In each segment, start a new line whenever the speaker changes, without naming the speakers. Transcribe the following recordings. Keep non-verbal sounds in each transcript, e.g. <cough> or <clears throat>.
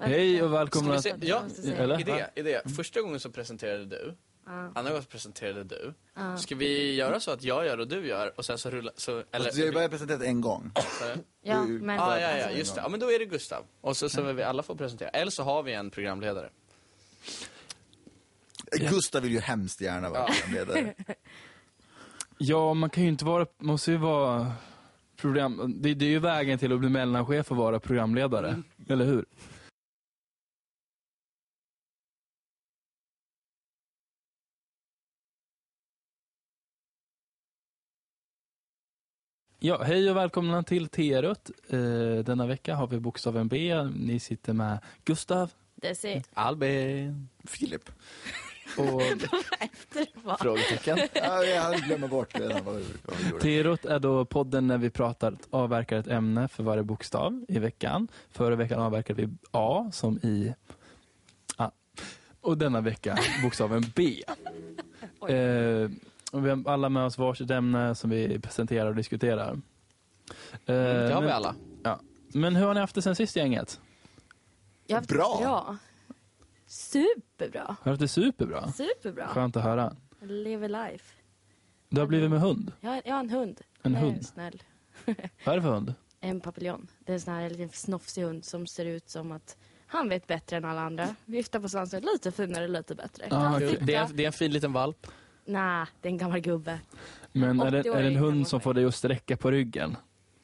Hej och
Ska
välkomna.
vi se? Ja,
Eller?
idé, idé. Första gången så presenterade du,
Ja.
andra gången så presenterade du. Ska vi göra så att jag gör och du gör och sen så rullar... Så, eller,
Alltså, jag har bara presenterat en gång.
Ja,
Du-
men...
ah, ja, ja,
alltså,
just det. Ja, men då är det Gustav. Och så, så vi alla får presentera. Eller så har vi en programledare.
Gustav vill ju hemskt gärna vara programledare.
Ja, man kan ju inte vara, man måste ju vara program, det, det är ju vägen till att bli mellanchef och vara programledare, eller hur? Ja, hej och välkomna till T-Rött. Eh, denna vecka har vi bokstaven B. Ni sitter med Gustav
Desi,
Albin.
Filip.
och
det var...
frågetecken.
Ja, jag glömmer bort
<laughs>
redan vad vi, vad vi gjorde.
Terot är då podden när vi pratar, avverkar ett ämne för varje bokstav i veckan. Förra veckan avverkade vi A som i A. Och denna vecka bokstaven
<laughs>
B. Eh, och vi har alla med oss varsitt ämne som vi presenterar och diskuterar. Eh,
Mm, Det har vi
men-
alla.
Ja. Men hur har ni haft det sen sist gänget?
Jag har haft
Bra.
det bra. Superbra.
Har haft det superbra?
Superbra.
Skönt att höra.
Lever life.
Du har blivit med hund.
Jag har, jag har en hund.
En
Den är
hund?
snäll.
Vad är det för hund?
En papillon. Det är en sån här liten snofsig hund som ser ut som att han vet bättre än alla andra. Viftar på svansen. Lite finare, lite bättre.
Ah, okej.
Det är, en- det är en fin liten valp.
Nej, det är en gammal gubbe.
Men är det,
80-åring
är det en
kan man
hund som
säga.
får dig att sträcka på ryggen?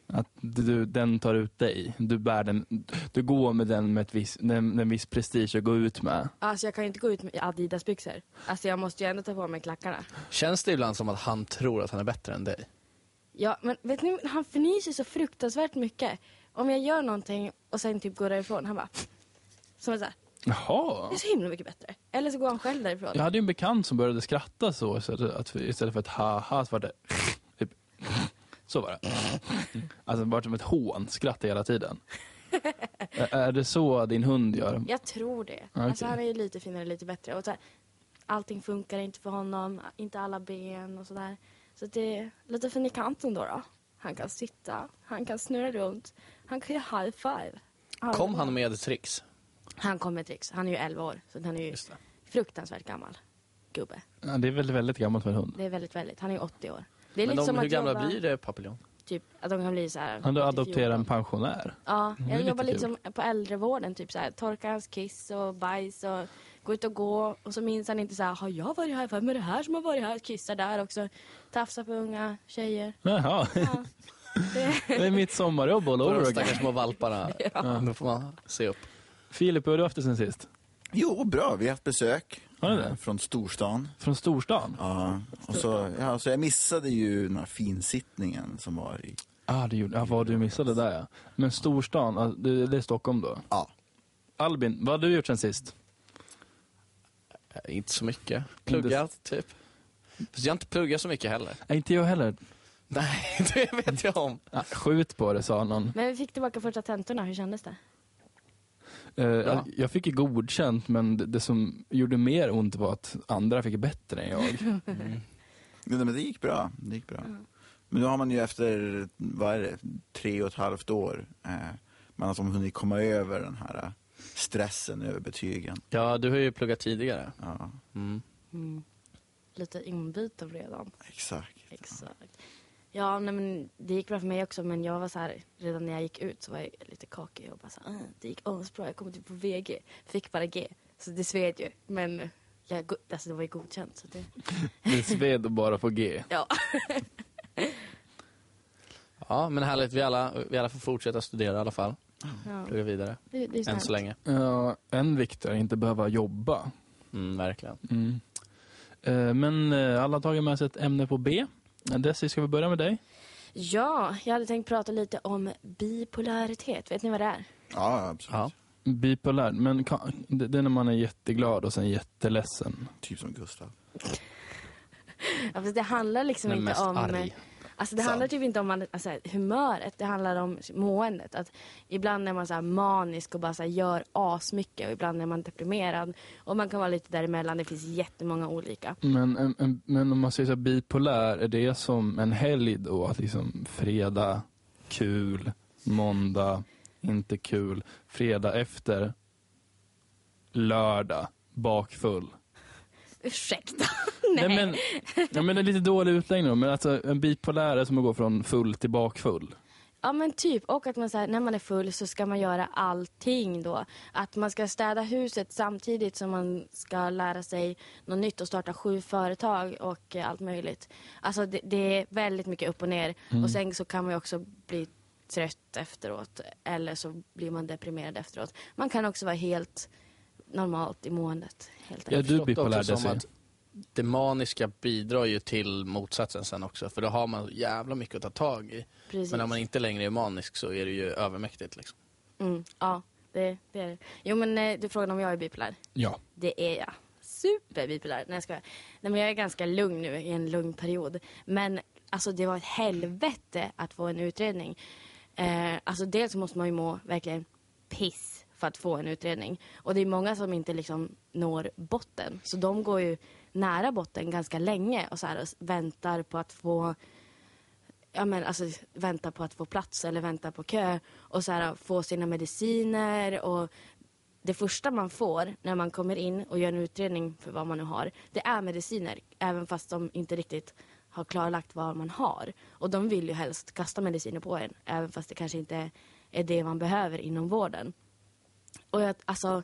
Att du, den tar ut dig, du bär den, du går med den med ett viss, den, den viss prestige att gå ut med.
Alltså jag kan ju inte gå ut med Adidas-byxor. Alltså jag måste ju ändå ta på mig klackarna.
Känns det ibland som att han tror att han är bättre än dig?
Ja, men vet ni, han fnyser så fruktansvärt mycket. Om jag gör någonting och sen typ går därifrån, han bara... Som så här,
Jaha.
det är så himla mycket bättre. Eller så går han själv därifrån.
Jag hade ju en bekant som började skratta så, så att- att, istället för ett haha så var det typ, så var det. Alltså bara som ett hån, skratta hela tiden. Ä- är det så din hund gör?
Jag tror det.
Okej.
Alltså han är ju lite finare, lite bättre. Och så här, allting funkar inte för honom, inte alla ben och sådär. Så att det är lite fin i kanten då, då. Han kan sitta, han kan snurra runt, han kan göra high five. Ja,
Kom han med tricks?
Han kom med tricks. Han är ju 11 år, så han är ju
Just det.
fruktansvärt gammal gubbe.
Ja, det är väl väldigt gammalt för en hund.
Det är väldigt, väldigt. Han är 80 år. Det är
Men
lite
de,
som
hur
att
gamla
jobba,
blir det papillon?
Typ, att de kan bli så här.
Han du
80-14.
adopterar en pensionär.
Ja,
Det är
jag
lite
jobbar
kul.
liksom på äldrevården. Typ så här, torka hans kiss och bajs och gå ut och gå. Och så minns han inte så här, har jag varit här? Vem är det här som har varit här? Kissar där också. Tafsar på unga tjejer.
Jaha. <laughs> Det är mitt sommarjobb all
På
over
de
again.
stackars
<laughs>
små valparna. ja. Då får man se upp.
Filip, hur har du haft det sen sist?
Jo, bra. Vi har haft besök. eh,
Har ni det?
Från storstan.
Från storstan? Ja,
Ja, och så, ja, så jag missade ju den här finsittningen som var i...
ah, det gjorde, ah, vad du missade där ja. Men storstan, ah, det, det är Stockholm då.
Ja.
Albin, vad har du gjort sen sist?
Eh, Inte så mycket. Pluggat, typ. Fast jag har inte pluggat så mycket heller.
Nej, inte jag heller.
Nej, <laughs> det vet jag om.
Ah, skjut på det, sa någon.
Men vi fick tillbaka första tentorna. Hur kändes det?
Eh, jag, jag fick ju godkänt, men det, det som gjorde mer ont var att andra fick bättre än <laughs> jag.
Men det gick bra. Det gick bra.
Mm.
Men nu har man ju efter, vad är det, tre och ett halvt år, eh, man har som hunnit komma över den här eh, stressen över betygen.
Ja, du har ju pluggat tidigare. Mm.
Ja,
Lite inbiten redan.
exakt.
Exakt. Ja, nej, men det gick bra för mig också men jag var så här, redan när jag gick ut så var jag lite kakig och bara så här, "Ah, det gick asbra, jag kom typ på VG, fick bara G. Så det sved ju, men jag, go- alltså det var ju godkänt så det,
Det sved att bara på G.
ja.
Ja, men härligt. Vi alla, vi alla får fortsätta studera i alla fall.
ja.
Plugga vidare.
Det, det är
Än
snällt.
så länge.
Ja, en vikt är inte behöva jobba.
Mm, verkligen.
Mm. Eh, men eh, alla har tagit med sig ett ämne på B. Desi, ska vi börja med dig?
Ja, jag hade tänkt prata lite om bipolaritet, vet ni vad det är?
Ja, absolut.
Ja.
Bipolär, men kan, det, det är när man är jätteglad och sen jätteledsen.
Typ som Gustav.
Ja, fast det handlar liksom
Men
inte
mest
om...
arg.
Alltså det handlar typ inte om alltså, humöret, det handlar om måendet. Att ibland är man så här manisk och bara så här gör asmycket och ibland är man deprimerad. Och man kan vara lite däremellan, det finns jättemånga olika.
Men, en, en, men om man säger så här, bipolär, är det som en helg då? Att liksom fredag, kul, måndag, inte kul, fredag efter, lördag, bakfull.
Ursäkta. <laughs>
Nej. men, ja, men det är lite dålig utläggning då, men alltså en bipolär som att gå från full till bakfull.
Ja men typ, och att man så här, när man är full så ska man göra allting då. Att man ska städa huset samtidigt som man ska lära sig något nytt och starta sju företag och eh, allt möjligt. Alltså det, det är väldigt mycket upp och ner
Mm.
och sen så kan man ju också bli trött efteråt eller så blir man deprimerad efteråt. Man kan också vara helt normalt i måendet. Helt
Ja,
enkelt.
du är bipolär
också som
Desi.
att det maniska bidrar ju till motsatsen sen också, för då har man jävla mycket att ta tag i.
Precis.
Men när man inte längre är manisk så är det ju övermäktigt. Liksom.
Mm, ja, det, det är det. Jo men eh, du frågade om jag är bipolär.
Ja.
Det är jag. Superbipolär. Nej, jag skojar. Nej, men jag är ganska lugn nu, i en lugn period. Men alltså, det var ett helvete att få en utredning. Eh, alltså, dels så måste man ju må verkligen piss för att få en utredning. Och det är många som inte liksom når botten. Så de går ju nära botten ganska länge och, så här, och s- väntar på att få ja, men, alltså, vänta på att få plats eller vänta på kö och så här, få sina mediciner. Och det första man får när man kommer in och gör en utredning för vad man nu har, det är mediciner. Även fast de inte riktigt har klarlagt vad man har. Och de vill ju helst kasta mediciner på en, även fast det kanske inte är det man behöver inom vården. Och jag, alltså,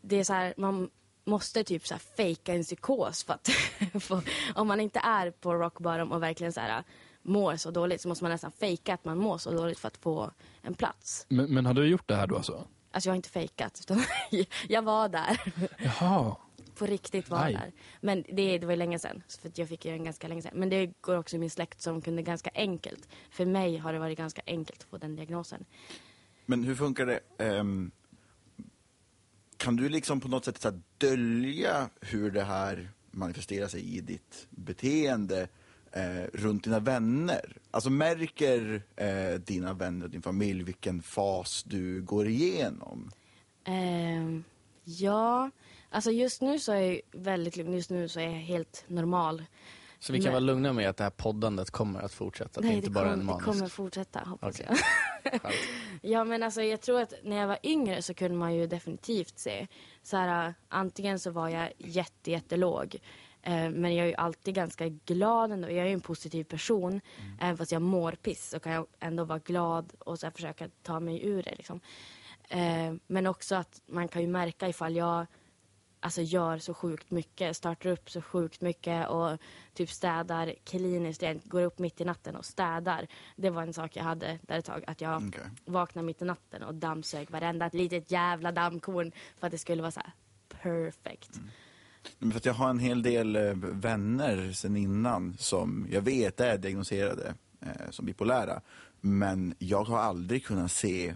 det är så här, man måste typ så här fejka en psykos för att <laughs> få, om man inte är på rock bottom och verkligen så här mår så dåligt så måste man nästan fejka att man mår så dåligt för att få en plats.
Men, men har du gjort det här då alltså?
Alltså jag har inte fejkat utan <laughs> jag var där.
Jaha.
På riktigt var
Aj.
där. Men det, det var ju länge sedan. så För att jag fick ju den ganska länge sedan. Men det går också i min släkt som kunde ganska enkelt. För mig har det varit ganska enkelt att få den diagnosen.
Men hur funkar det? ehm, kan du liksom på något sätt så här dölja hur det här manifesterar sig i ditt beteende eh, runt dina vänner? Alltså märker eh, dina vänner och din familj vilken fas du går igenom?
Ehm, ja, alltså just nu så är jag ju väldigt lugn. Just nu så är jag helt normal.
Så vi kan
Men-
vara lugna med att det här poddandet kommer att fortsätta. det är inte bara
kommer,
en manisk.
det kommer fortsätta hoppas
Okej.
jag.
<laughs> Skönt.
<laughs> Ja men alltså jag tror att när jag var yngre så kunde man ju definitivt se. Så här, äh, antingen så var jag jätte, jättelåg. Eh, men jag är ju alltid ganska glad ändå. Jag är ju en positiv person.
Mm.
Även fast jag mår piss så kan jag ändå vara glad och så här, försöka ta mig ur det. Liksom. Eh, men också att man kan ju märka ifall jag alltså gör så sjukt mycket, startar upp så sjukt mycket och typ städar kliniskt. Jag går upp mitt i natten och städar. Det var en sak jag hade där ett tag, att jag
Okej.
vaknade mitt i natten och dammsög varenda ett litet jävla dammkorn för att det skulle vara så här perfect.
Mm. Men För att jag har en hel del eh, vänner sen innan som jag vet är diagnostiserade eh, som bipolära. Men jag har aldrig kunnat se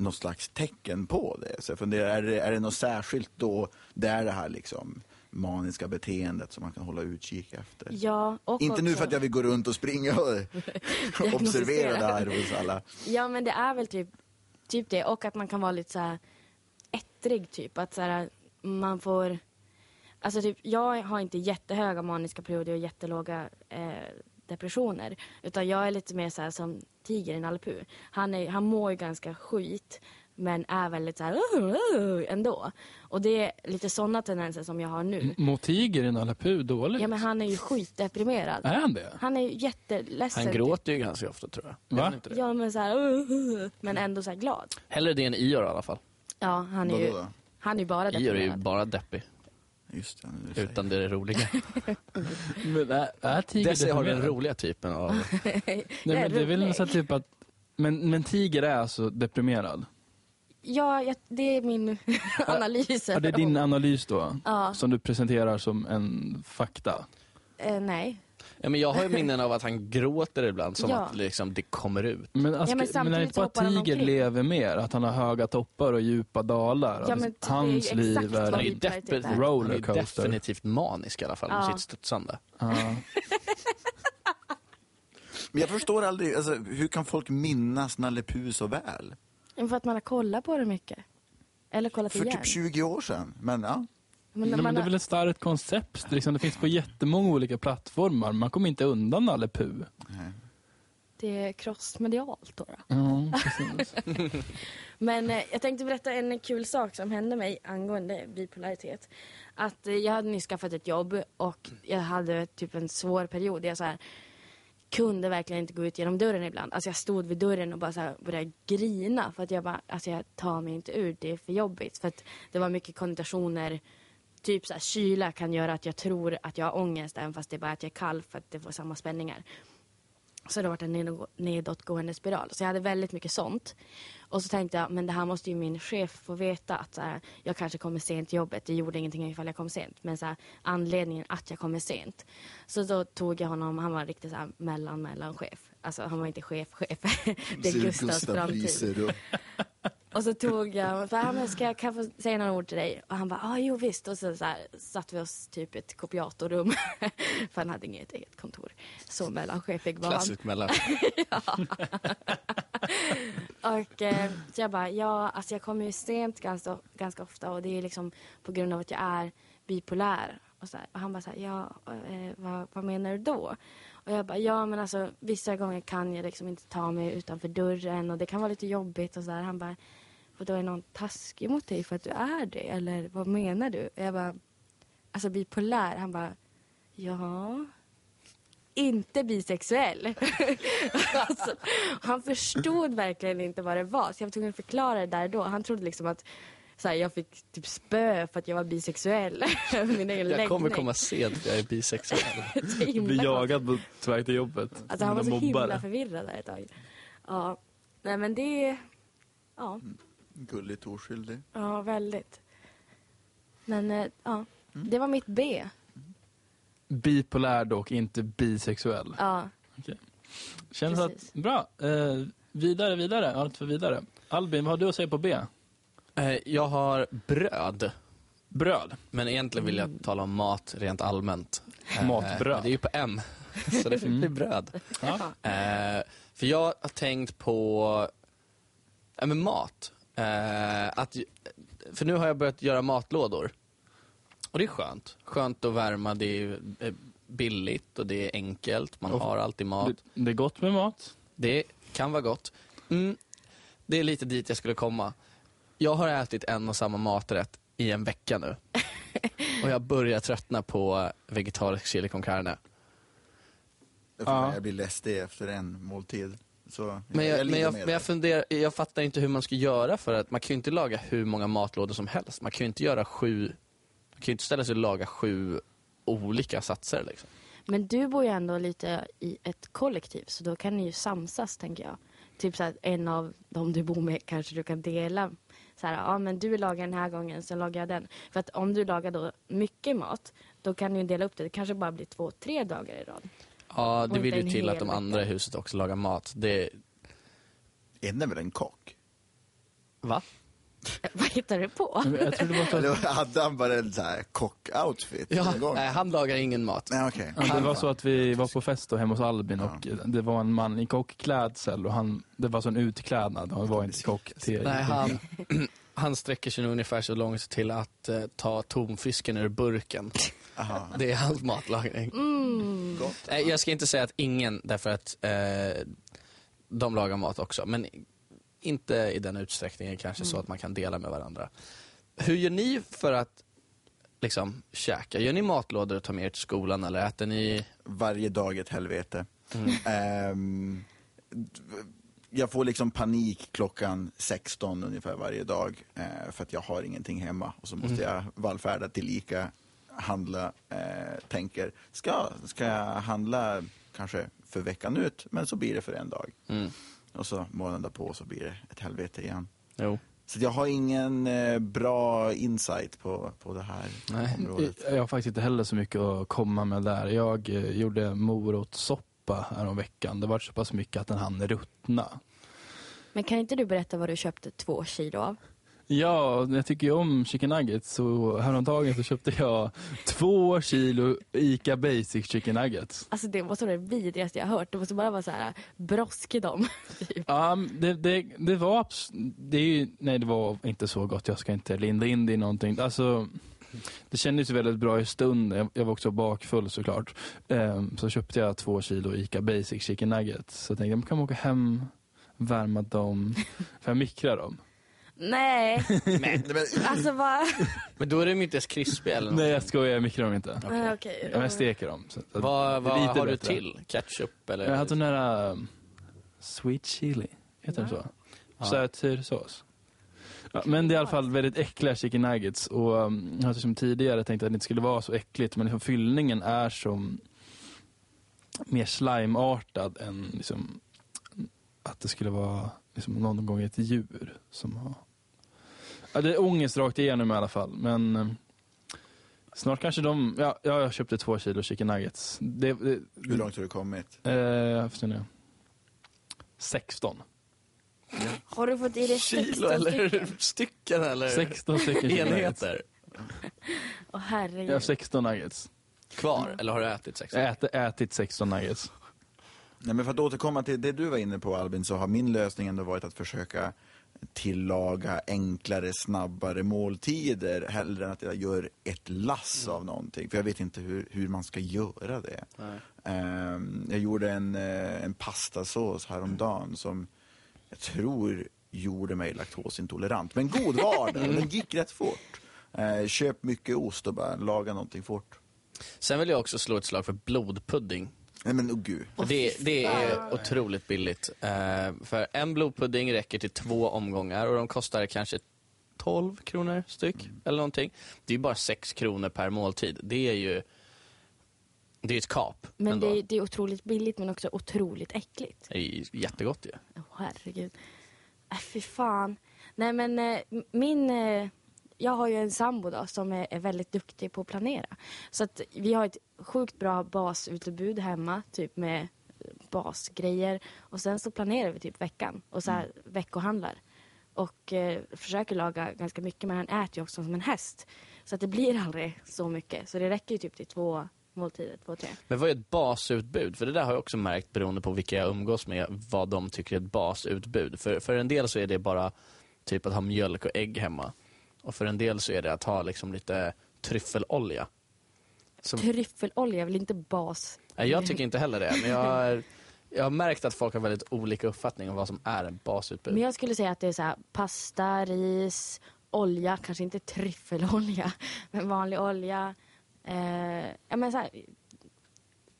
något slags tecken på det. Så jag funderar, är det, är det något särskilt då det är det här liksom maniska beteendet som man kan hålla utkik efter?
Ja, och
Inte nu
också-
för att jag vill gå runt och
<laughs>
springa och <laughs> observera det här hos alla.
Ja men det är väl typ, typ det och att man kan vara lite så här ettrig typ. Att så här, man får, alltså typ jag har inte jättehöga maniska perioder och jättelåga eh, depressioner. Utan jag är lite mer så här som tigern i Nalle Puh. han, är, han mår ju ganska skit men är väldigt så här "Uh, uh", ändå. Och det är lite sådana tendenser som jag har
Mm.
nu.
Motiger i Nalle Puh dåligt?
Ja men han är ju skitdeprimerad.
Är han det?
Han är ju jätteledsen.
Han
typ.
gråter ju ganska ofta tror jag.
Va?
Gör han inte det?
Ja men så här, "Uh, uh, uh", men ändå så här glad.
Hellre det än Ior i alla fall.
Ja, han är
Vadå
ju,
då?
han är ju bara
Ior är ju
deprimerad.
bara deppig,
Just det, nu säger jag.
utan det är
<laughs>
det roliga.
Men är, är tiger
Desi har den
deprimerad?
roliga
<laughs>
typen av...
Nej, men det är väl
rolig.
så här typ att, men, men tiger är alltså deprimerad?
Ja, jag, det är min <laughs> analys.
Ja, det är din analys då?
Ja.
Som du presenterar som en fakta?
Eh, nej.
Ja, men jag har ju minnen av att han gråter ibland, som
Ja.
att liksom, det kommer ut.
Men, alltså,
Ja, men
men, är det
samtidigt
inte bara
hoppar han
att tiger
omkring.
lever mer? Att han har höga toppar och djupa dalar?
Ja,
Att
men det är ju
hans
exakt
liv
vad
Han är
är...
ju
Bipolar typ
definitivt-
är.
han är ju
Rollercoaster.
definitivt manisk i alla fall, med
Ja.
sitt studsande.
<laughs>
Ja.
Men jag förstår aldrig, alltså, hur kan folk minnas Nalle Puh så väl?
Men För att man har kollat på det mycket. Eller kollat
För
igen.
typ 20 år sedan, men ja.
Men,
Men,
man
men det är
har-
väl ett starkt koncept? Liksom, det finns på jättemånga olika plattformar. Man kommer inte undan Nalle Puh.
Nej.
Det är crossmedialt då. då.
Ja, precis.
Men eh, jag tänkte berätta en kul sak som hände mig angående bipolaritet. Att eh, jag hade nyss skaffat ett jobb och jag hade typ en svår period. Jag så här, kunde verkligen inte gå ut genom dörren ibland. Alltså jag stod vid dörren och bara så här började grina för att jag bara, alltså jag tar mig inte ur, det är för jobbigt. För att det var mycket konnotationer, typ så här, kyla kan göra att jag tror att jag har ångest även fast det är bara att jag är kall för att det får samma spänningar. Så det har varit en nedåtgå- nedåtgående spiral. Så jag hade väldigt mycket sånt. Och så tänkte jag, men det här måste ju min chef få veta att så här, jag kanske kommer sent till jobbet. Det gjorde ingenting ifall jag kom sent. Men så här, anledningen att jag kommer sent. Så då tog jag honom, han var riktigt så här mellan, mellanchef. Alltså han var inte chef, <laughs> chef. det är Gustavs framtid.
<laughs> då.
Och så tog jag, så här, men ska jag kan jag få säga några ord till dig? Och han bara, ah, jo visst. Och så, så här, satt vi oss typ i ett kopiatorrum. <laughs> För han hade inget eget kontor. Så mellanchefig var han. <laughs>
Klassiskt mellan.
Och, eh, så jag bara, ja, alltså jag kommer ju sent ganska, ganska ofta och det är liksom på grund av att jag är bipolär. Och, så här. och han bara så här, ja, eh, vad, vad menar du då? Och jag bara, ja men alltså vissa gånger kan jag liksom inte ta mig utanför dörren och det kan vara lite jobbigt och så där. Han bara, och då är någon taskig mot dig för att du är det eller vad menar du? Och jag bara, alltså bipolär, han bara, ja. Inte bisexuell. <laughs> alltså, han förstod verkligen inte vad det var. Så jag var tvungen att förklara det där då. Han trodde liksom att så här, jag fick typ spö för att jag var bisexuell. <laughs> Min egen
Jag kommer
läggning.
komma sent för jag är bisexuell.
Så himla
Blir
konstigt.
jagad på väg till jobbet.
Alltså han var så
Mina mobbare.
himla förvirrad där ett tag. Ja, nej men det... Ja,
Mm.
Gulligt oskyldig.
ja väldigt. Men eh, ja,
Mm.
det var mitt B.
Bipolär dock, inte bisexuell.
Ja,
Känns
precis.
att, bra. Eh, vidare, vidare. Allt för vidare. Albin, vad har du att säga på B?
<laughs> Eh, Jag har bröd.
Bröd.
Men egentligen vill
Mm.
jag tala om mat rent allmänt. Eh,
Matbröd.
men Det är ju på M. <laughs> Så det fick bli bröd.
Ja.
Eh, för jag har tänkt på ja, men mat. Eh, att, för nu har jag börjat göra matlådor. Och det är skönt. Skönt att värma, det är eh, billigt och det är enkelt. Man
Och-
har alltid mat.
Det, det är gott med mat.
Det kan vara gott. Mm, det är lite dit jag skulle komma. Jag har ätit en och samma maträtt i en vecka nu. Och jag börjar tröttna på vegetarisk chili con carne.
Jag, får-
Ja.
jag blir lästig efter en måltid. Så
Men jag, men
lider
jag,
med
men jag,
dig.
funderar, jag fattar inte hur man ska göra för att man kan ju inte laga hur många matlådor som helst. Man kan ju inte göra sju, man kan ju inte ställa sig och laga sju olika satser liksom.
Men du bor ju ändå lite i ett kollektiv så då kan ni ju samsas tänker jag. Typ så att en av dem du bor med kanske du kan dela. Så här, ja men du lagar den här gången, sen lagar jag den. För att om du lagar då mycket mat, då kan du ju dela upp det. Det kanske bara blir två, tre dagar i rad. <laughs>
Ja,
Och
det vill
inte
ju
en
till att
hel
de
vecka.
andra i huset också lagar mat. Det,
Är det väl en kock?
va?
Eh, Vad hittar du på?
Men Jag tror det var så
Eller
att,
hade han bara en sån här kock-outfit?
Ja,
den gången?
nej, han lagar ingen mat.
Nej, okej.
ja, det var så att vi var på fest då hemma hos Albin och det var en man i kockklädsel och han, det var sån utklädnad. Han var inte kock till...
Nej, han, <clears throat> han sträcker sig nog ungefär så långt till att eh, ta tomfisken ur <laughs> burken.
Aha.
Det är hans matlagning. Mm.
Gott.
Nej, jag ska inte säga att ingen, därför att eh, de lagar mat också. Men inte i den utsträckningen kanske
Mm.
så att man kan dela med varandra. Hur gör ni för att liksom käka? Gör ni matlådor och tar med er till skolan eller äter ni?
Varje dag ett helvete. Ehm, d- jag får liksom panik klockan 16 ungefär varje dag eh, för att jag har ingenting hemma och så måste jag vallfärda till Ica, handla, eh, tänker ska, ska jag handla kanske för veckan ut men så blir det för en dag.
Mm.
Och så månaden därpå så blir det ett helvete igen.
<laughs>
Jo.
Så jag har ingen eh, bra insight på, på det här
Nej.
området.
Jag har faktiskt inte heller så mycket att komma med där. Jag eh, gjorde morotssoppa häromveckan. Det var så pass mycket att den hann ruttna.
Men kan inte du berätta vad du köpte två kilo av?
Ja, jag tycker ju om chicken nuggets så häromdagen så köpte jag två kilo ICA Basic chicken nuggets.
Alltså det måste vara det vidrigaste jag har hört. Det måste bara vara så här brosk i dem. typ.
Ja, det, det, det var abs- det är ju, nej det var inte så gott, jag ska inte linda in det i någonting. Alltså, Det kändes ju väldigt bra i stunden. Jag- Jag var också bakfull såklart. Ehm, Så köpte jag två kilo ICA Basic Chicken Nuggets. Så jag tänkte, jag kan åka hem, värma dem, för jag mikrar dem.
<laughs> Nej,
Nej, men,
alltså vad...
Men då är de ju inte ens krispiga eller
Nej
någonting.
jag skojar, jag mikrar dem inte.
<laughs> Okej.
Nej, <laughs> okej.
Men jag steker dem. Så att-
Vad,
det är
vad
lite
har du
bättre.
till? Ketchup eller?
Jag hade den här ehm, sweet chili, heter den så?
Ja.
Söt syrsås. Ja, men det är i alla fall väldigt äckliga chicken nuggets och um, jag hade som tidigare tänkt att det inte skulle vara så äckligt men liksom fyllningen är som mer slimeartad än liksom att det skulle vara liksom någon gång ett djur som har... Ja, det är ångest rakt igenom i alla fall men eh, snart kanske de... Ja, ja jag köpte två kilo chicken nuggets. Det, det,
hur långt har du kommit?
Eh, får se nu. 16.
Har du fått i dig 16
Kilo
stycken?
eller stycken eller
16 stycken chicken nuggets.
enheter
Åh
Jag har
herregud.
16 nuggets.
kvar? Eller har du ätit sex?
Jag har ätit, ätit 16 nuggets.
Nej, men för att återkomma till det du var inne på Albin, så har min lösning ändå varit att försöka tillaga enklare, snabbare måltider hellre än att jag gör ett lass av någonting. För jag vet inte hur, hur man ska göra det.
Nej.
Ehm, jag gjorde en, eh, en pastasås häromdagen som jag tror gjorde mig laktosintolerant. Men god var den, den gick rätt fort. Eh, köp mycket ost och bara laga någonting fort.
Sen vill jag också slå ett slag för blodpudding.
Nej men oh, gud.
Det, det är otroligt billigt. Eh, för en blodpudding räcker till två omgångar och de kostar kanske 12 kronor styck eller någonting. Det är ju bara 6 kronor per måltid. Det är ju det är ett kap
Men det
ändå.
är, det är otroligt billigt men också otroligt äckligt.
Det är ju jättegott ju.
Åh herregud. Äh, fy fan. Nej men eh, m- min... Eh, jag har ju en sambo då som är, är väldigt duktig på att planera. Så att vi har ett sjukt bra basutbud hemma, typ med eh, basgrejer. Och sen så planerar vi typ veckan och så här veckohandlar. Och eh, försöker laga ganska mycket men han äter ju också som en häst. Så att det blir aldrig så mycket. Så det räcker ju typ till två måltider, två, tre.
Men vad är ett basutbud? För det där har jag också märkt beroende på vilka jag umgås med, vad de tycker är ett basutbud. För, för en del så är det bara typ att ha mjölk och ägg hemma. Och för en del så är det att ha liksom lite tryffelolja. Som,
Tryffelolja är väl inte bas?
Nej, jag tycker inte heller det, men jag, jag har märkt att folk har väldigt olika uppfattning om vad som är ett basutbud.
Men jag skulle säga att det är så här, pasta, ris, olja, kanske inte tryffelolja, <laughs> men vanlig olja. Eh, ja, men så här,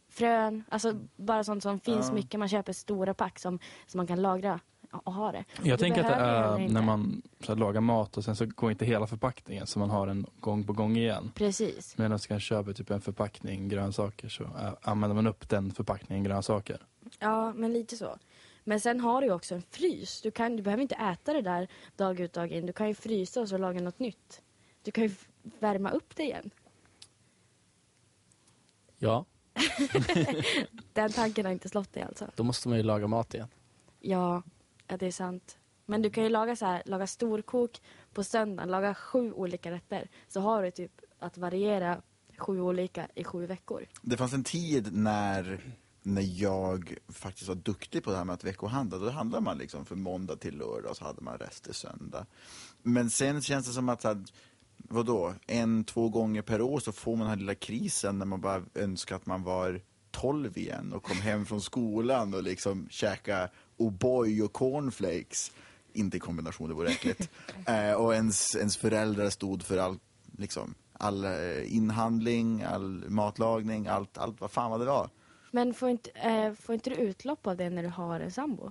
frön, alltså bara sånt som finns
Ja.
mycket. Man köper stora pack som, som man kan lagra och ha det.
Jag
Du
tänker att det
behöver
är
heller inte.
när man så här, lagar mat och sen så går inte hela förpackningen så man har den gång på gång igen.
Precis.
Medan man köper typ en förpackning grönsaker så äh, använder man upp den förpackningen grönsaker.
Ja, men lite så. Men sen har du ju också en frys. Du, kan, du behöver inte äta det där dag ut dag in. Du kan ju frysa och så laga något nytt. Du kan ju f- värma upp det igen.
Ja,
Den tanken har inte slått dig alltså?
då måste man ju laga mat igen.
Ja, ja det är sant. Men du kan ju laga så här, laga storkok på söndagen, laga sju olika rätter. Så har du typ att variera sju olika i sju veckor.
Det fanns en tid när, när jag faktiskt var duktig på det här med att veckohandla. Då handlade man liksom för måndag till lördag och så hade man rester söndag. Men sen känns det som att, så här, vadå, en, två gånger per år så får man den här lilla krisen när man bara önskar att man var 12 igen och kom hem från skolan och liksom käka O'boy och cornflakes. Inte i kombination, det vore äckligt. eh, och ens, ens föräldrar stod för allt liksom, all eh, inhandling, all matlagning, allt, allt vad fan vad det var.
Men får inte, eh, får inte du utlopp av det när du har en sambo?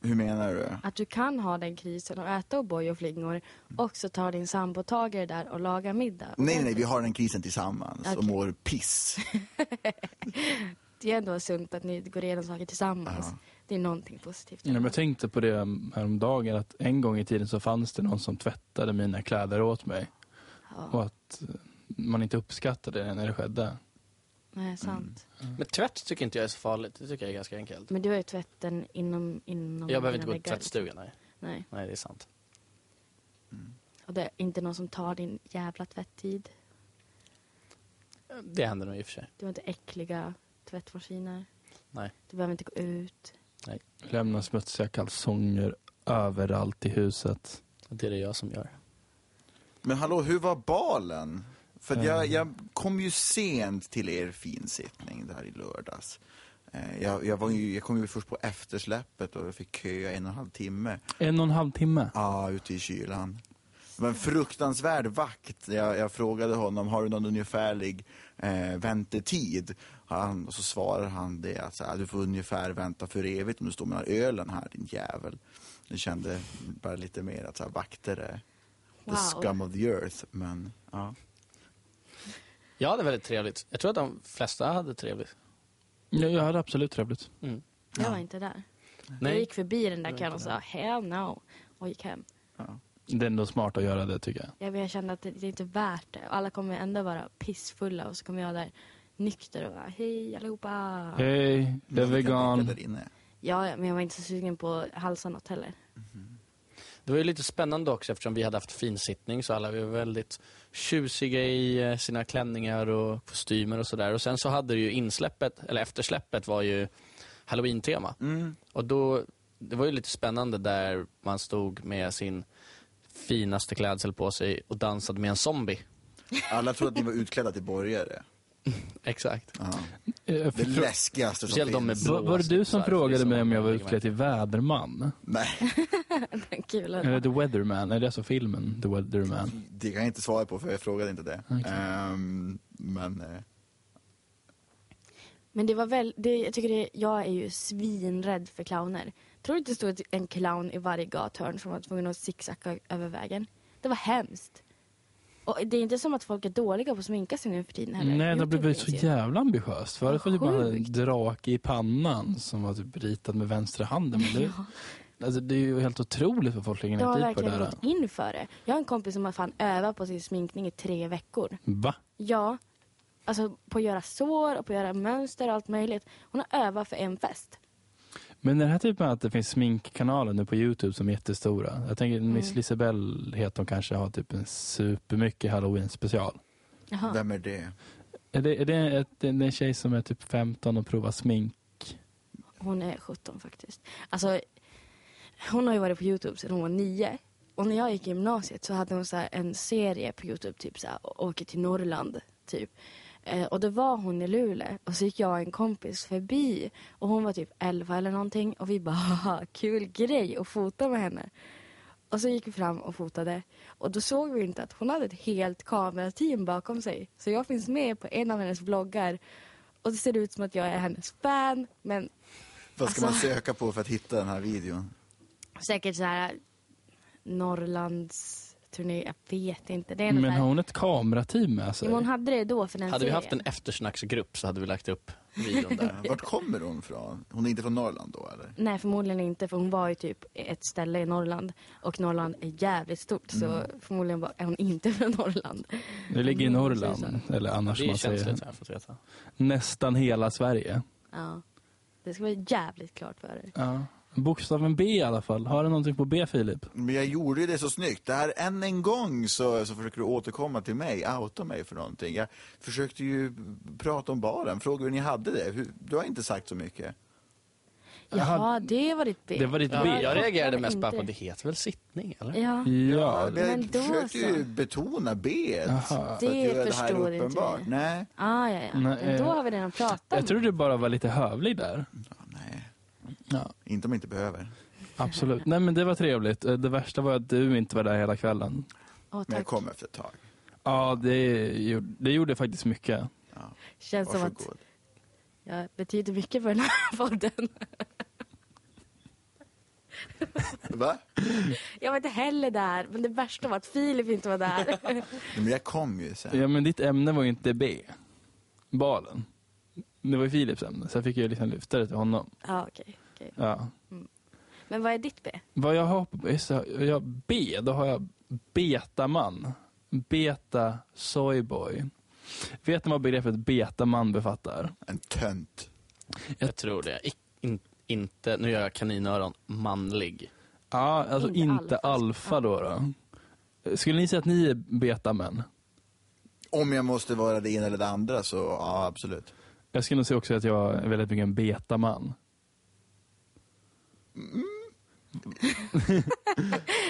Hur menar du?
Att du kan ha den krisen och äta O'boy och flingor och så tar din sambo tag i det där och lagar middag.
Nej, nej, nej, vi har den krisen tillsammans och
Okej.
mår piss.
Det är ändå sunt att ni går igenom saker tillsammans.
Ja.
Det är någonting positivt.
Ja, men Jag tänkte på det häromdagen att en gång i tiden så fanns det någon som tvättade mina kläder åt mig
Ja,
och att eh, man inte uppskattade det när det skedde.
nej, sant.
Mm.
Mm.
Men tvätt tycker inte jag är så farligt, det tycker jag är ganska enkelt.
Men du har ju tvätten inom... inom
Jag behöver
dina
inte gå
väggar, liksom.
till tvättstugan, nej.
Nej.
Nej, det är sant.
Och det är inte någon som tar din jävla tvätttid.
Det händer nog i och för sig.
Du har inte äckliga tvättmaskiner.
Nej.
Du behöver inte gå ut.
Lämna smutsiga kalsonger överallt i huset.
Det är det jag som gör.
Men hallå, hur var balen? För att jag, jag kom ju sent till er finsittning där i lördags. Eh, Jag, jag, var ju, jag kom ju först på eftersläppet och fick köa en och en halv timme.
En och en halv timme.
Ja, ute i kylan. Det var en fruktansvärd vakt. Jag, jag frågade honom, har du någon ungefärlig eh, väntetid? Han, och så svarar han det att så här, du får ungefär vänta för evigt om du står med den här ölen här, din jävel. Jag kände bara lite mer att så här, vakter är
Wow.
the scum of the earth. Men ja,
Jag hade väldigt trevligt. Jag tror att de flesta hade trevligt.
Jag, jag hade absolut trevligt.
Mm.
Jag var inte där. Jag
Nej,
gick förbi den där
var
kön och
inte
sa hell no och gick hem.
Det är ändå smart att göra det tycker jag.
Jag men jag kände att det, det är inte värt det. Alla kommer ändå vara pissfulla och så kommer jag där nykter och bara hej allihopa.
Hej, det är
Men vilka
vegan.
blickar där inne.
Ja, ja, men jag var inte så sugen på att halsa något heller. <laughs>
det var ju lite spännande också eftersom vi hade haft finsittning så alla var väldigt tjusiga i eh, sina klänningar och kostymer och sådär. Och sen så hade det ju insläppet, eller eftersläppet var ju halloween-tema.
Mm.
Och då, det var ju lite spännande där man stod med sin finaste klädsel på sig och dansade med en zombie.
Alla trodde att ni var utklädda till borgare.
Exakt.
Ja.
Eh,
Det
frå-
läskigaste som
Speciellt de med
finns.
Var, var det du som
blåsnipsar, det är
frågade
så
mig om jag var
många
utklädd till väderman?
Nej,
Kul.
Eller The Weatherman, är det alltså filmen The Weatherman?
det kan jag inte svara på för jag frågade inte det.
Okej.
Ehm, men... eh,
Men det var väl, det, jag tycker det, jag är ju svinrädd för clowner. Tror du inte det stod ett- en clown i varje gathörn som var tvungen att zigzacka över vägen? Det var hemskt. Och det är inte som att folk är dåliga på att sminka sig nu för tiden heller.
Nej, det har
YouTube
blivit så
finns ju.
jävla ambitiöst. Förut var det
Vad
bara en
sjukt.
drake i pannan som var typ ritad med vänstra handen. Men <laughs> det, alltså, det är ju helt otroligt vad folk lägger
De har
ner tid på det
verkligen
här.
gått in för det. Jag har en kompis som har fan övat på sin sminkning i tre veckor.
Va?
Ja, alltså på att göra sår och på att göra mönster och allt möjligt. Hon har övat för en fest.
Men den här typen av att det finns sminkkanaler nu på Youtube som är jättestora. Jag tänker
Mm.
Miss Lisabell heter hon kanske har typ en supermycket halloween special.
Jaha.
Vem är det?
Är det, är det ett, det är en tjej som är typ 15 och provar smink?
Hon är 17 faktiskt. Alltså, hon har ju varit på Youtube sedan hon var 9. Och när jag gick i gymnasiet så hade hon så här en serie på Youtube, typ så här, åker till Norrland, typ. Eh, och då var hon i Luleå och så gick jag och en kompis förbi och hon var typ 11 eller någonting och vi bara haha, kul grej att fota med henne. Och så gick vi fram och fotade och då såg vi inte att hon hade ett helt kamerateam bakom sig. Så jag finns med på en av hennes vloggar och det ser ut som att jag är hennes fan men
Vad ska man
Alltså-
söka på för att hitta den här videon?
säkert så här Norrlands turné, jag vet inte. Det är
Men
men
har hon ett kamerateam med sig?
Jo, hon hade det då för den
Hade vi
serien.
haft en eftersnacksgrupp så hade vi lagt upp videon <laughs> där.
Vart kommer hon från? Hon är inte från Norrland då eller?
Nej, förmodligen inte för hon var ju typ ett ställe i Norrland och Norrland är jävligt stort
Mm.
så förmodligen var- är hon inte från Norrland.
Det ligger i
Mm,
Norrland,
precis.
eller annars
Det är
man säger
känsligt har jag fått veta.
nästan hela Sverige.
Ja. Det ska vara jävligt klart för er.
Ja. Bokstaven B i alla fall. Har du någonting på B Filip?
Men jag gjorde ju det så snyggt. Det här, än en gång så, så försöker du återkomma till mig, outa mig för någonting. Jag försökte ju prata om baren, fråga hur ni hade det. Hur, du har inte sagt så mycket.
Jaha,
Jaha, det var ditt B.
det var ditt B.
Ja, jag reagerade mest bara
Inte.
på det heter väl sittning eller?
Ja.
Mm. Ja.
jag
men då
försökte
så.
ju betona B.
Jaha.
för att
Det
göra här
förstod inte
uppenbart.
vi.
Nej,
Ah, ja, ja.
Nej,
Men då
eh,
har vi redan pratat om
Jag tror
det.
du bara var lite hövlig där.
Ja, nej.
Ja,
Inte om jag inte behöver.
absolut. Nej men det var trevligt. Eh, Det värsta var att du inte var där hela kvällen.
Åh,
Men jag
tack.
kommer efter ett tag.
Ja, det gjorde, det gjorde faktiskt mycket.
Ja.
Känns som att
Varsågod.
jag betyder mycket för den här <laughs> podden.
Va?
Jag var inte heller där, men det värsta var att Filip inte var där.
<laughs>
Men jag kom ju sen.
Ja men ditt ämne var ju inte B. Balen. Det var ju Filips ämne, så jag fick ju liksom lyfta det till honom.
ja, okej. okej.
Ja.
Men vad är ditt B?
Vad jag har på just det, jag, B, då har jag betaman. Beta soyboy. Vet ni vad begreppet betaman befattar?
En tönt.
Jag tror det. I, in, inte, nu gör jag kaninöron, manlig.
Ja, alltså
Inte
inte, alfa,
alfa
då, då. Skulle ni säga att ni är betamän?
Om jag måste vara det ena eller det andra så ja, absolut.
Jag skulle nog säga också att jag är väldigt mycket en betaman.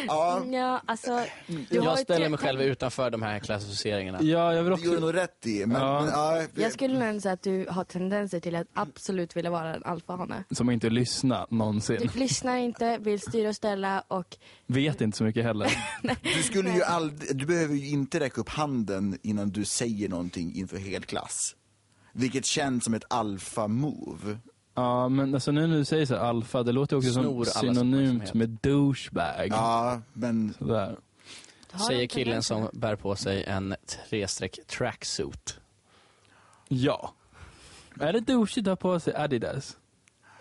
Ja,
Ja, alltså, du har
Mm. Jag
ju
ställer mig
träffat-
själv utanför de här klassificeringarna.
Ja, jag vill
det gjorde du
också...
nog rätt i. Men,
Ja.
men, ja, det-
Jag skulle nog säga att du har tendenser till att absolut vilja vara en alfahane.
Som inte lyssna någonsin.
Du lyssnar inte, vill styra och ställa och
Vet inte så mycket heller.
Du, skulle ju aldrig, du behöver ju inte räcka upp handen innan du säger någonting inför hel klass. Vilket känns som ett
Mm.
alfa-move.
Ja, men alltså nu när du säger så här, alfa, det låter ju också
Snor
som
allas
synonymt
uppmärksamhet.
med douchebag.
Ja, men
Sådär.
har
Säger
de
killen
tendenser.
som bär på sig en trestreck tracksuit.
Ja. Är det douchigt att ha på sig Adidas?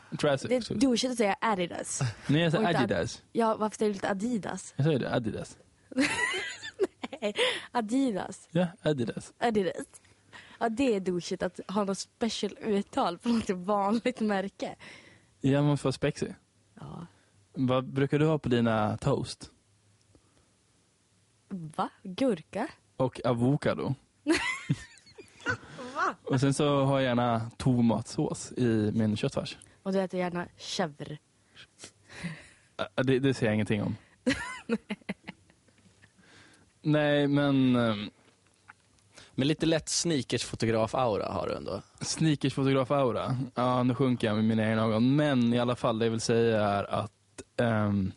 Det
Trasics.
är douchigt att säga Adidas.
Nej, jag säger
Och inte Ad-
Adidas.
Ja, varför säger du inte Adidas? <laughs>
Jag säger det, Adidas.
Adidas.
Ja, Adidas.
Adidas. Ja, det är douchigt att ha något special uttal på något vanligt märke.
Ja, man får vara spexig.
Ja.
Vad brukar du ha på dina toast?
Va? Gurka?
Och avokado. Va? Och sen så har jag gärna tomatsås i min köttfärs.
Och du äter gärna chèvre.
Ä- Det, det ser jag ingenting om. Nej, men ehm,
Men lite lätt sneakersfotograf-aura har du ändå.
Sneakersfotograf-aura. Ja, nu sjunker jag med mina egna ögon. Men i alla fall, det jag vill säga är att ehm,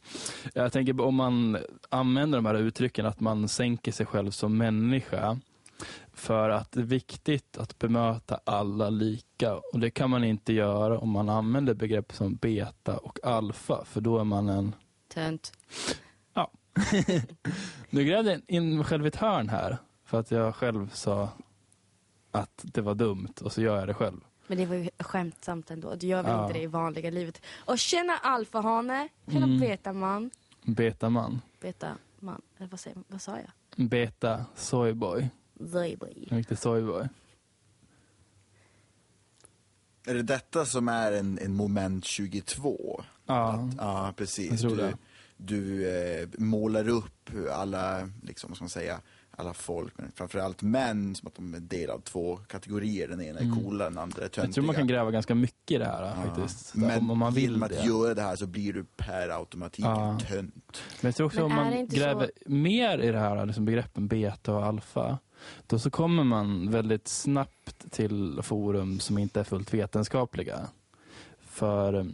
jag tänker på om man använder de här uttrycken, att man sänker sig själv som människa. För att det är viktigt att bemöta alla lika. Och det kan man inte göra om man använder begrepp som beta och alfa. För då är man en...
Tönt.
Nu grävde jag in mig själv i ett hörn här. För att jag själv sa att det var dumt och så gör jag det själv.
Men det var ju skämtsamt ändå. Du gör väl
Ja.
inte det i vanliga livet? Och tjena alfahane, tjena
Mm.
betaman.
Betaman.
Betaman, eller vad, säger, man? vad sa jag?
Beta Soyboy.
Zoiboy.
En riktig Soyboy.
är det detta som är en, en moment 22?
Ja.
Att, ja,
Jag
precis.
tror
Du,
det.
du eh, målar upp alla, liksom, vad ska man säga, alla folk, men framförallt män, som att de är del av två kategorier. Den ena är
Mm.
coola, den andra är töntiga.
Jag tror man kan gräva ganska mycket i det här faktiskt.
Ja. Men
om, om man vill
genom att
det.
göra det här så blir du per automatik
Ja.
en tönt.
Men jag tror också
Men
om
är
man
det inte
gräver mer i det här liksom begreppen beta och alfa. Då så kommer man väldigt snabbt till forum som inte är fullt vetenskapliga. För eh,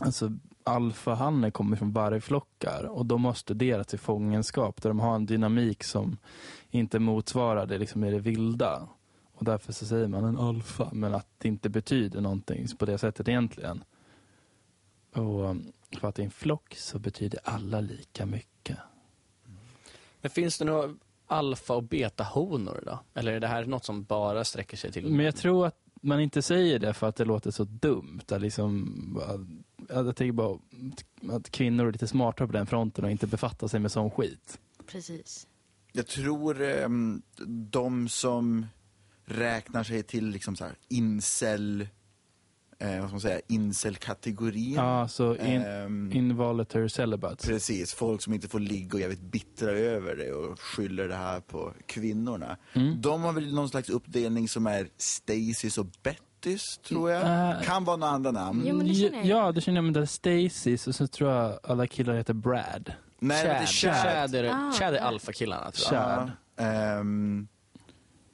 alltså, alfahannar kommer från vargflockar och de har studerat till fångenskap där de har en dynamik som inte motsvarar det liksom i det vilda. Och därför så säger man en alfa men att det inte betyder någonting på det sättet egentligen. Och eh, för att det är en flock så betyder alla lika mycket.
Men finns det några alfa och beta-honor då? Eller är det här något som bara sträcker sig till...
Men jag tror att man inte säger det för att det låter så dumt. Att liksom, att- jag tänker bara att kvinnor är lite smartare på den fronten och inte befattar sig med sån skit.
Precis.
Jag tror eh, de som räknar sig till liksom så här incel, eh, vad ska man säga, incelkategorin.
Ja, så in,
Ehm,
involuntary celibates.
Precis, folk som inte får ligga och jävligt bittra över det och skyller det här på kvinnorna.
Mm.
De har väl någon slags uppdelning som är Stasis och Bettys, tror jag.
Mm.
Kan vara några andra namn.
Jo, men det känner jag ju.
Ja, det känner jag. Men det är Stasis och så tror jag alla killar heter Brad.
Nej, det
Chad.
är
Chad.
Chad.
är, det-
Ah,
Chad är
Chad.
alfakillarna tror jag.
Chad.
Ja, ehm,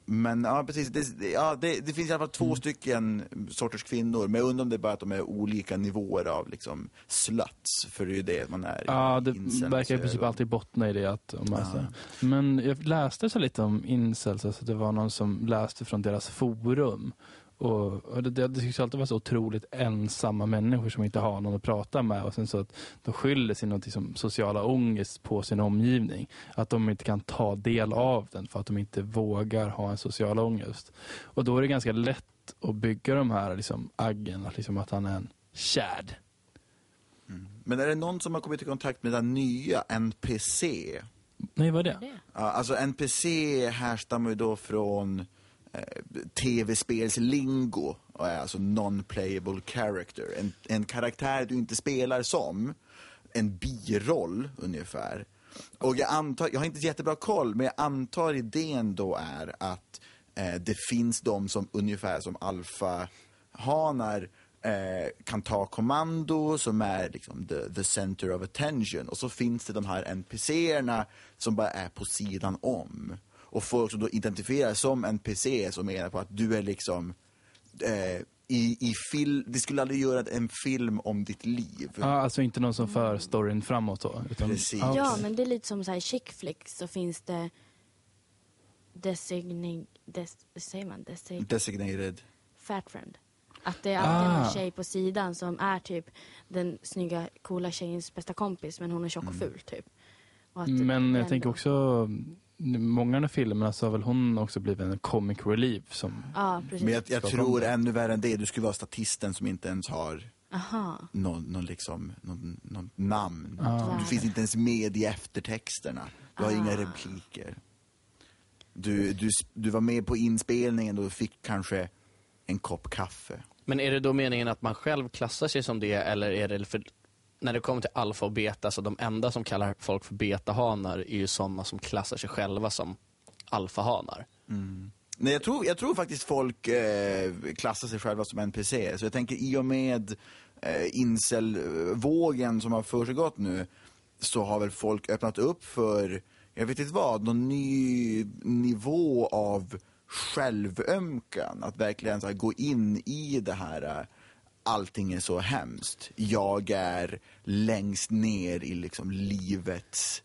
men ja, precis. Det, det- ja, det, det finns i alla fall två
Mm.
stycken sorters kvinnor. Men jag undrar om det är bara att de är olika nivåer av liksom sluts. För det är ju det man är. i
Ja, det
incels
verkar i princip
ögon.
alltid bottna i det. Att om man,
Ja.
så- Men jag läste så lite om incels, alltså det var någon som läste från deras forum. Och, och det, det, det tycks alltid vara så otroligt ensamma människor som inte har någon att prata med. Och sen så att de skyller sin någonting som sociala ångest på sin omgivning. Att de inte kan ta del av den för att de inte vågar ha en social ångest. Och då är det ganska lätt att bygga de här liksom, aggen, att, liksom, att han är en Chad.
Men är det någon som har kommit i kontakt med den nya NPC?
Nej, vad är det?
Ja, alltså NPC härstammar ju då från eh, tv-spelslingo och är alltså non-playable character. En, en karaktär du inte spelar som, en biroll ungefär. Och jag antar, jag har inte jättebra koll, men jag antar idén då är att eh, det finns de som ungefär som alfa hanar eh, kan ta kommando, som är liksom the, the center of attention. Och så finns det de här NPCerna som bara är på sidan om. Och folk som då identifieras som NPC som menar på att du är liksom eh, i, i film, det skulle aldrig göra en film om ditt liv.
Ja, alltså inte någon som för storyn framåt då? Utan,
Precis.
Ah, okej.
Ja, men det är lite som så här chick flicks så finns det designing, des, hur säger man? Desig,
Designated.
fat friend. Att det är alltid
Ah.
någon tjej på sidan som är typ den snygga, coola tjejens bästa kompis men hon är tjock och ful typ. Och att
Mm. Men
den
jag tänker
då-
också, många av de filmerna så har väl hon också blivit en comic relief som...
Ja, precis.
Men jag, jag
Ska
tror
fram det.
ännu värre än det, du skulle vara statisten som inte ens har
Aha.
någon, någon liksom, någon, någon namn.
Ah.
Du finns inte ens med i eftertexterna. Du har inga repliker. Du, du, s- du var med på inspelningen och fick kanske en kopp kaffe.
Men är det då meningen att man själv klassar sig som det eller är det för när det kommer till alfa och beta, så de enda som kallar folk för betahanar är ju sådana som klassar sig själva som alfahanar.
Nej, jag tror, jag tror faktiskt folk eh, klassar sig själva som NPC. Så jag tänker i och med eh, incelvågen som har försiggått nu så har väl folk öppnat upp för, jag vet inte vad, någon ny nivå av självömkan. Att verkligen så här, gå in i det här eh, allting är så hemskt. Jag är längst ner i liksom livets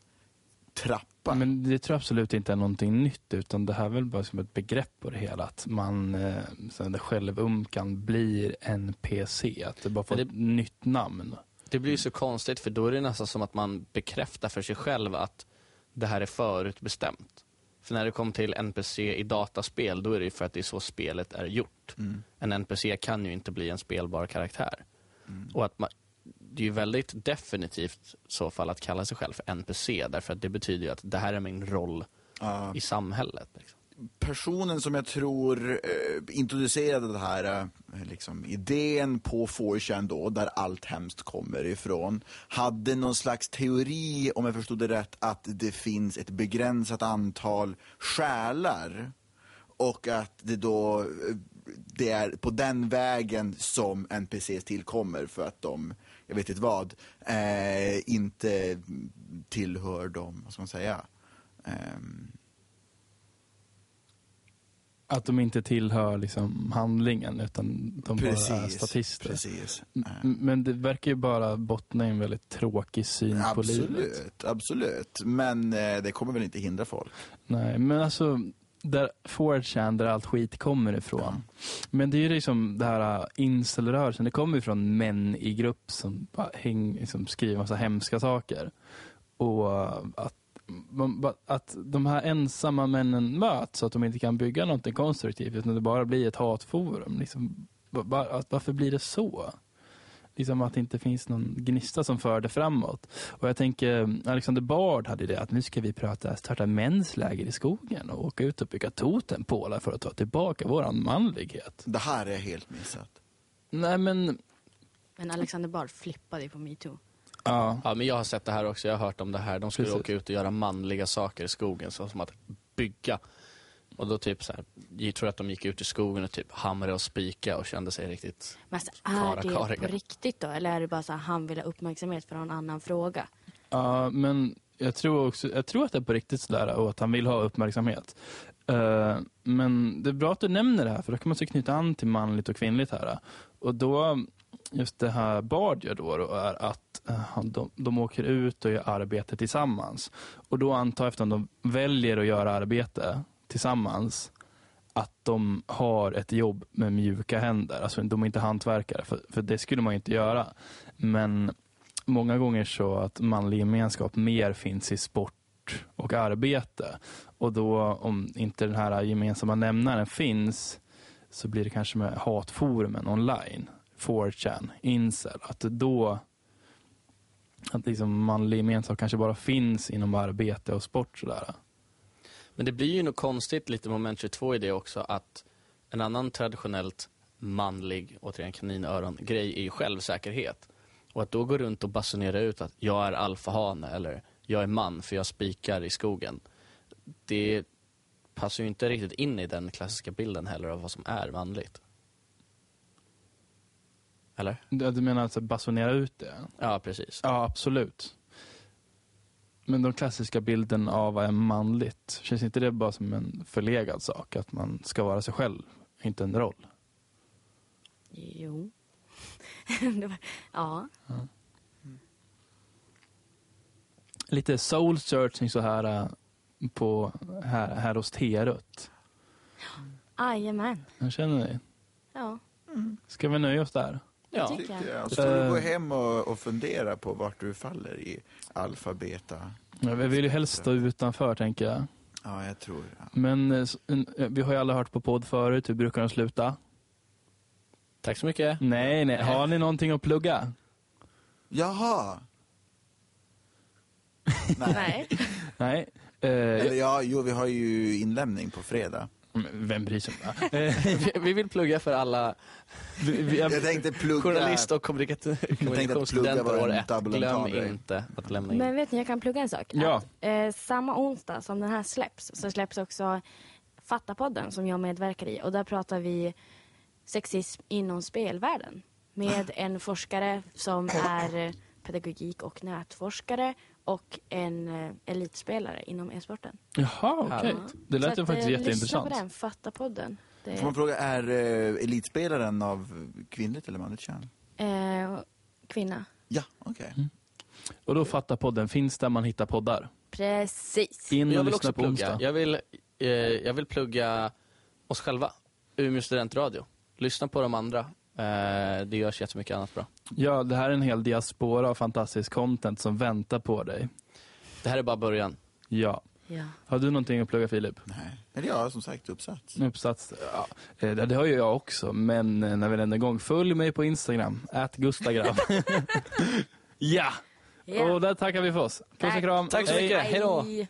trappa.
Men det tror jag absolut inte är någonting nytt utan det här är väl bara som ett begrepp på det hela. Att man, eh, sen det självumkan blir en PC. Att det bara får
Men
ett nytt namn.
Det blir ju så konstigt för då är det nästan som att man bekräftar för sig själv att det här är förutbestämt. För när det kommer till NPC i dataspel, då är det ju för att det är så spelet är gjort.
Mm.
En NPC kan ju inte bli en spelbar karaktär. Och att man, det är ju väldigt definitivt i så fall att kalla sig själv för NPC, därför att det betyder ju att det här är min roll
Ja.
i samhället. Liksom.
personen som jag tror eh, introducerade den här eh, liksom, idén på 4chan då, där allt hemskt kommer ifrån, hade någon slags teori, om jag förstod det rätt, att det finns ett begränsat antal själar och att det då eh, det är på den vägen som NPCs tillkommer för att de, jag vet inte vad, eh, inte tillhör dem, vad ska man säga? Ehm,
Att de inte tillhör liksom handlingen utan de bara är statister.
Precis. Eh,
M- Men det verkar ju bara bottna i en väldigt tråkig syn på livet.
Absolut, absolut. Men eh, det kommer väl inte hindra folk.
Nej, men alltså där 4chan, där allt skit kommer ifrån. Men det är ju liksom det här äh, incelrörelsen, det kommer ju från män i grupp som bara häng, liksom skriver massa hemska saker. Och äh, att, man, bara- att de här ensamma männen möts så att de inte kan bygga någonting konstruktivt utan det bara blir ett hatforum. Liksom, va- va- att, varför blir det så? Liksom att det inte finns någon gnista som för det framåt. Och jag tänker, eh, Alexander Bard hade ju det att nu ska vi prata, starta mäns läger i skogen och åka ut och bygga totempålar för att ta tillbaka våran manlighet.
Det här är helt missat.
Nej men,
Men Alexander Bard flippade ju på metoo.
ja.
Ja, men jag har sett det här också, jag har hört om det här. De skulle
Precis.
åka ut och göra manliga saker i skogen, så som att bygga. Och då typ så här, jag tror att de gick ut i skogen och typ hamrade och spika och kände sig riktigt...
Men alltså,
Kara
är det
Kariga.
på riktigt då? Eller är det bara så här, han vill ha uppmärksamhet för en annan fråga?
ja men jag tror, också, jag tror att det är på riktigt sådär och att han vill ha uppmärksamhet. Eh, men det är bra att du nämner det här för då kan man så knyta an till manligt och kvinnligt här. Och då, just det här Bard gör då, då är att eh, han- de, de åker ut och gör arbete tillsammans. Och då antar jag eftersom de väljer att göra arbete tillsammans att de har ett jobb med mjuka händer. Alltså de är inte hantverkare, för, för det skulle man ju inte göra. Men många gånger så att manlig gemenskap mer finns i sport och arbete. Och då om inte den här gemensamma nämnaren finns så blir det kanske med hatforumen online, 4chan, incel, att då att liksom manlig gemenskap kanske bara finns inom arbete och sport sådär.
Men det blir ju något konstigt, lite moment 22 i det också, att en annan traditionellt manlig, återigen kaninöron-grej är ju självsäkerhet. Och att då gå runt och basunera ut att jag är alfahane eller jag är man för jag spikar i skogen. Det passar ju inte riktigt in i den klassiska bilden heller av vad som är manligt. Eller?
Du du menar alltså basunera ut det?
Ja, precis.
Ja, absolut. Men den klassiska bilden av vad är manligt, känns inte det bara som en förlegad sak? Att man ska vara sig själv, inte en roll?
Jo. <laughs> det var, ja.
Lite soul searching så här eh, på, här, här hos Terött.
Jajamän.
Hur känner ni?
Ja.
Ska vi nöja oss där?
Ja.
Tycker jag.
jag. Så får
Eh.
du gå hem och, och fundera på vart du faller i alfa, beta.
Ja, Vi vill ju helst stå utanför, tänker jag.
Ja, jag tror ja.
Men eh, s- en- eh, vi har ju alla hört på podd förut, hur brukar de sluta?
Tack så mycket.
Nej, nej. Har ni någonting att plugga? <laughs>
Jaha!
Nej.
Nej. Eh,
Eller ja, jo, vi har ju inlämning på fredag.
men vem bryr sig? om det? Eh,
<laughs> Vi- Vi vill plugga för alla
vi, vi, jag,
Jag tänkte plugga...
journalist och kommunikations- kommunikationsstudenter
var
år
en
ett.
double
Glöm
entendre.
inte att lämna in.
Men vet ni, jag kan plugga en sak.
Ja.
Att, eh, samma onsdag som den här släpps så släpps också Fattapodden som jag medverkar i och där pratar vi sexism inom spelvärlden med en forskare som är eh, pedagogik och nätforskare och en eh, elitspelare inom e-sporten.
jaha, okej.
Ja.
Det
Så
lät ju
att,
faktiskt
eh, Lyssna på
jätteintressant.
den, Fattapodden. Det,
Får man fråga, är eh, elitspelaren av kvinnligt eller manligt kön?
eh, kvinna.
Ja, okej.
Mm. Och då fattar podden, finns där man hittar poddar.
Precis.
In
Men jag
och
vill
lyssna
också
på
plugga.
onsdag.
Jag vill, eh, jag vill plugga oss själva. Umeå studentradio. Lyssna på de andra. Eh, det görs jättemycket annat bra.
Ja, det här är en hel diaspora av fantastisk content som väntar på dig.
Det här är bara början.
Ja.
Ja.
Har du någonting att plugga Filip?
Nej. Eller ja, som sagt, uppsats.
Uppsats? Ja, eh, det det har ju jag också, men eh, när vi ändå är igång, följ mig på Instagram, at
<laughs>
gustagram. ja!
Ja.
Och där tackar vi för oss. Puss och
Tack.
kram.
Tack så
Hej.
mycket. Hej då.
Hej.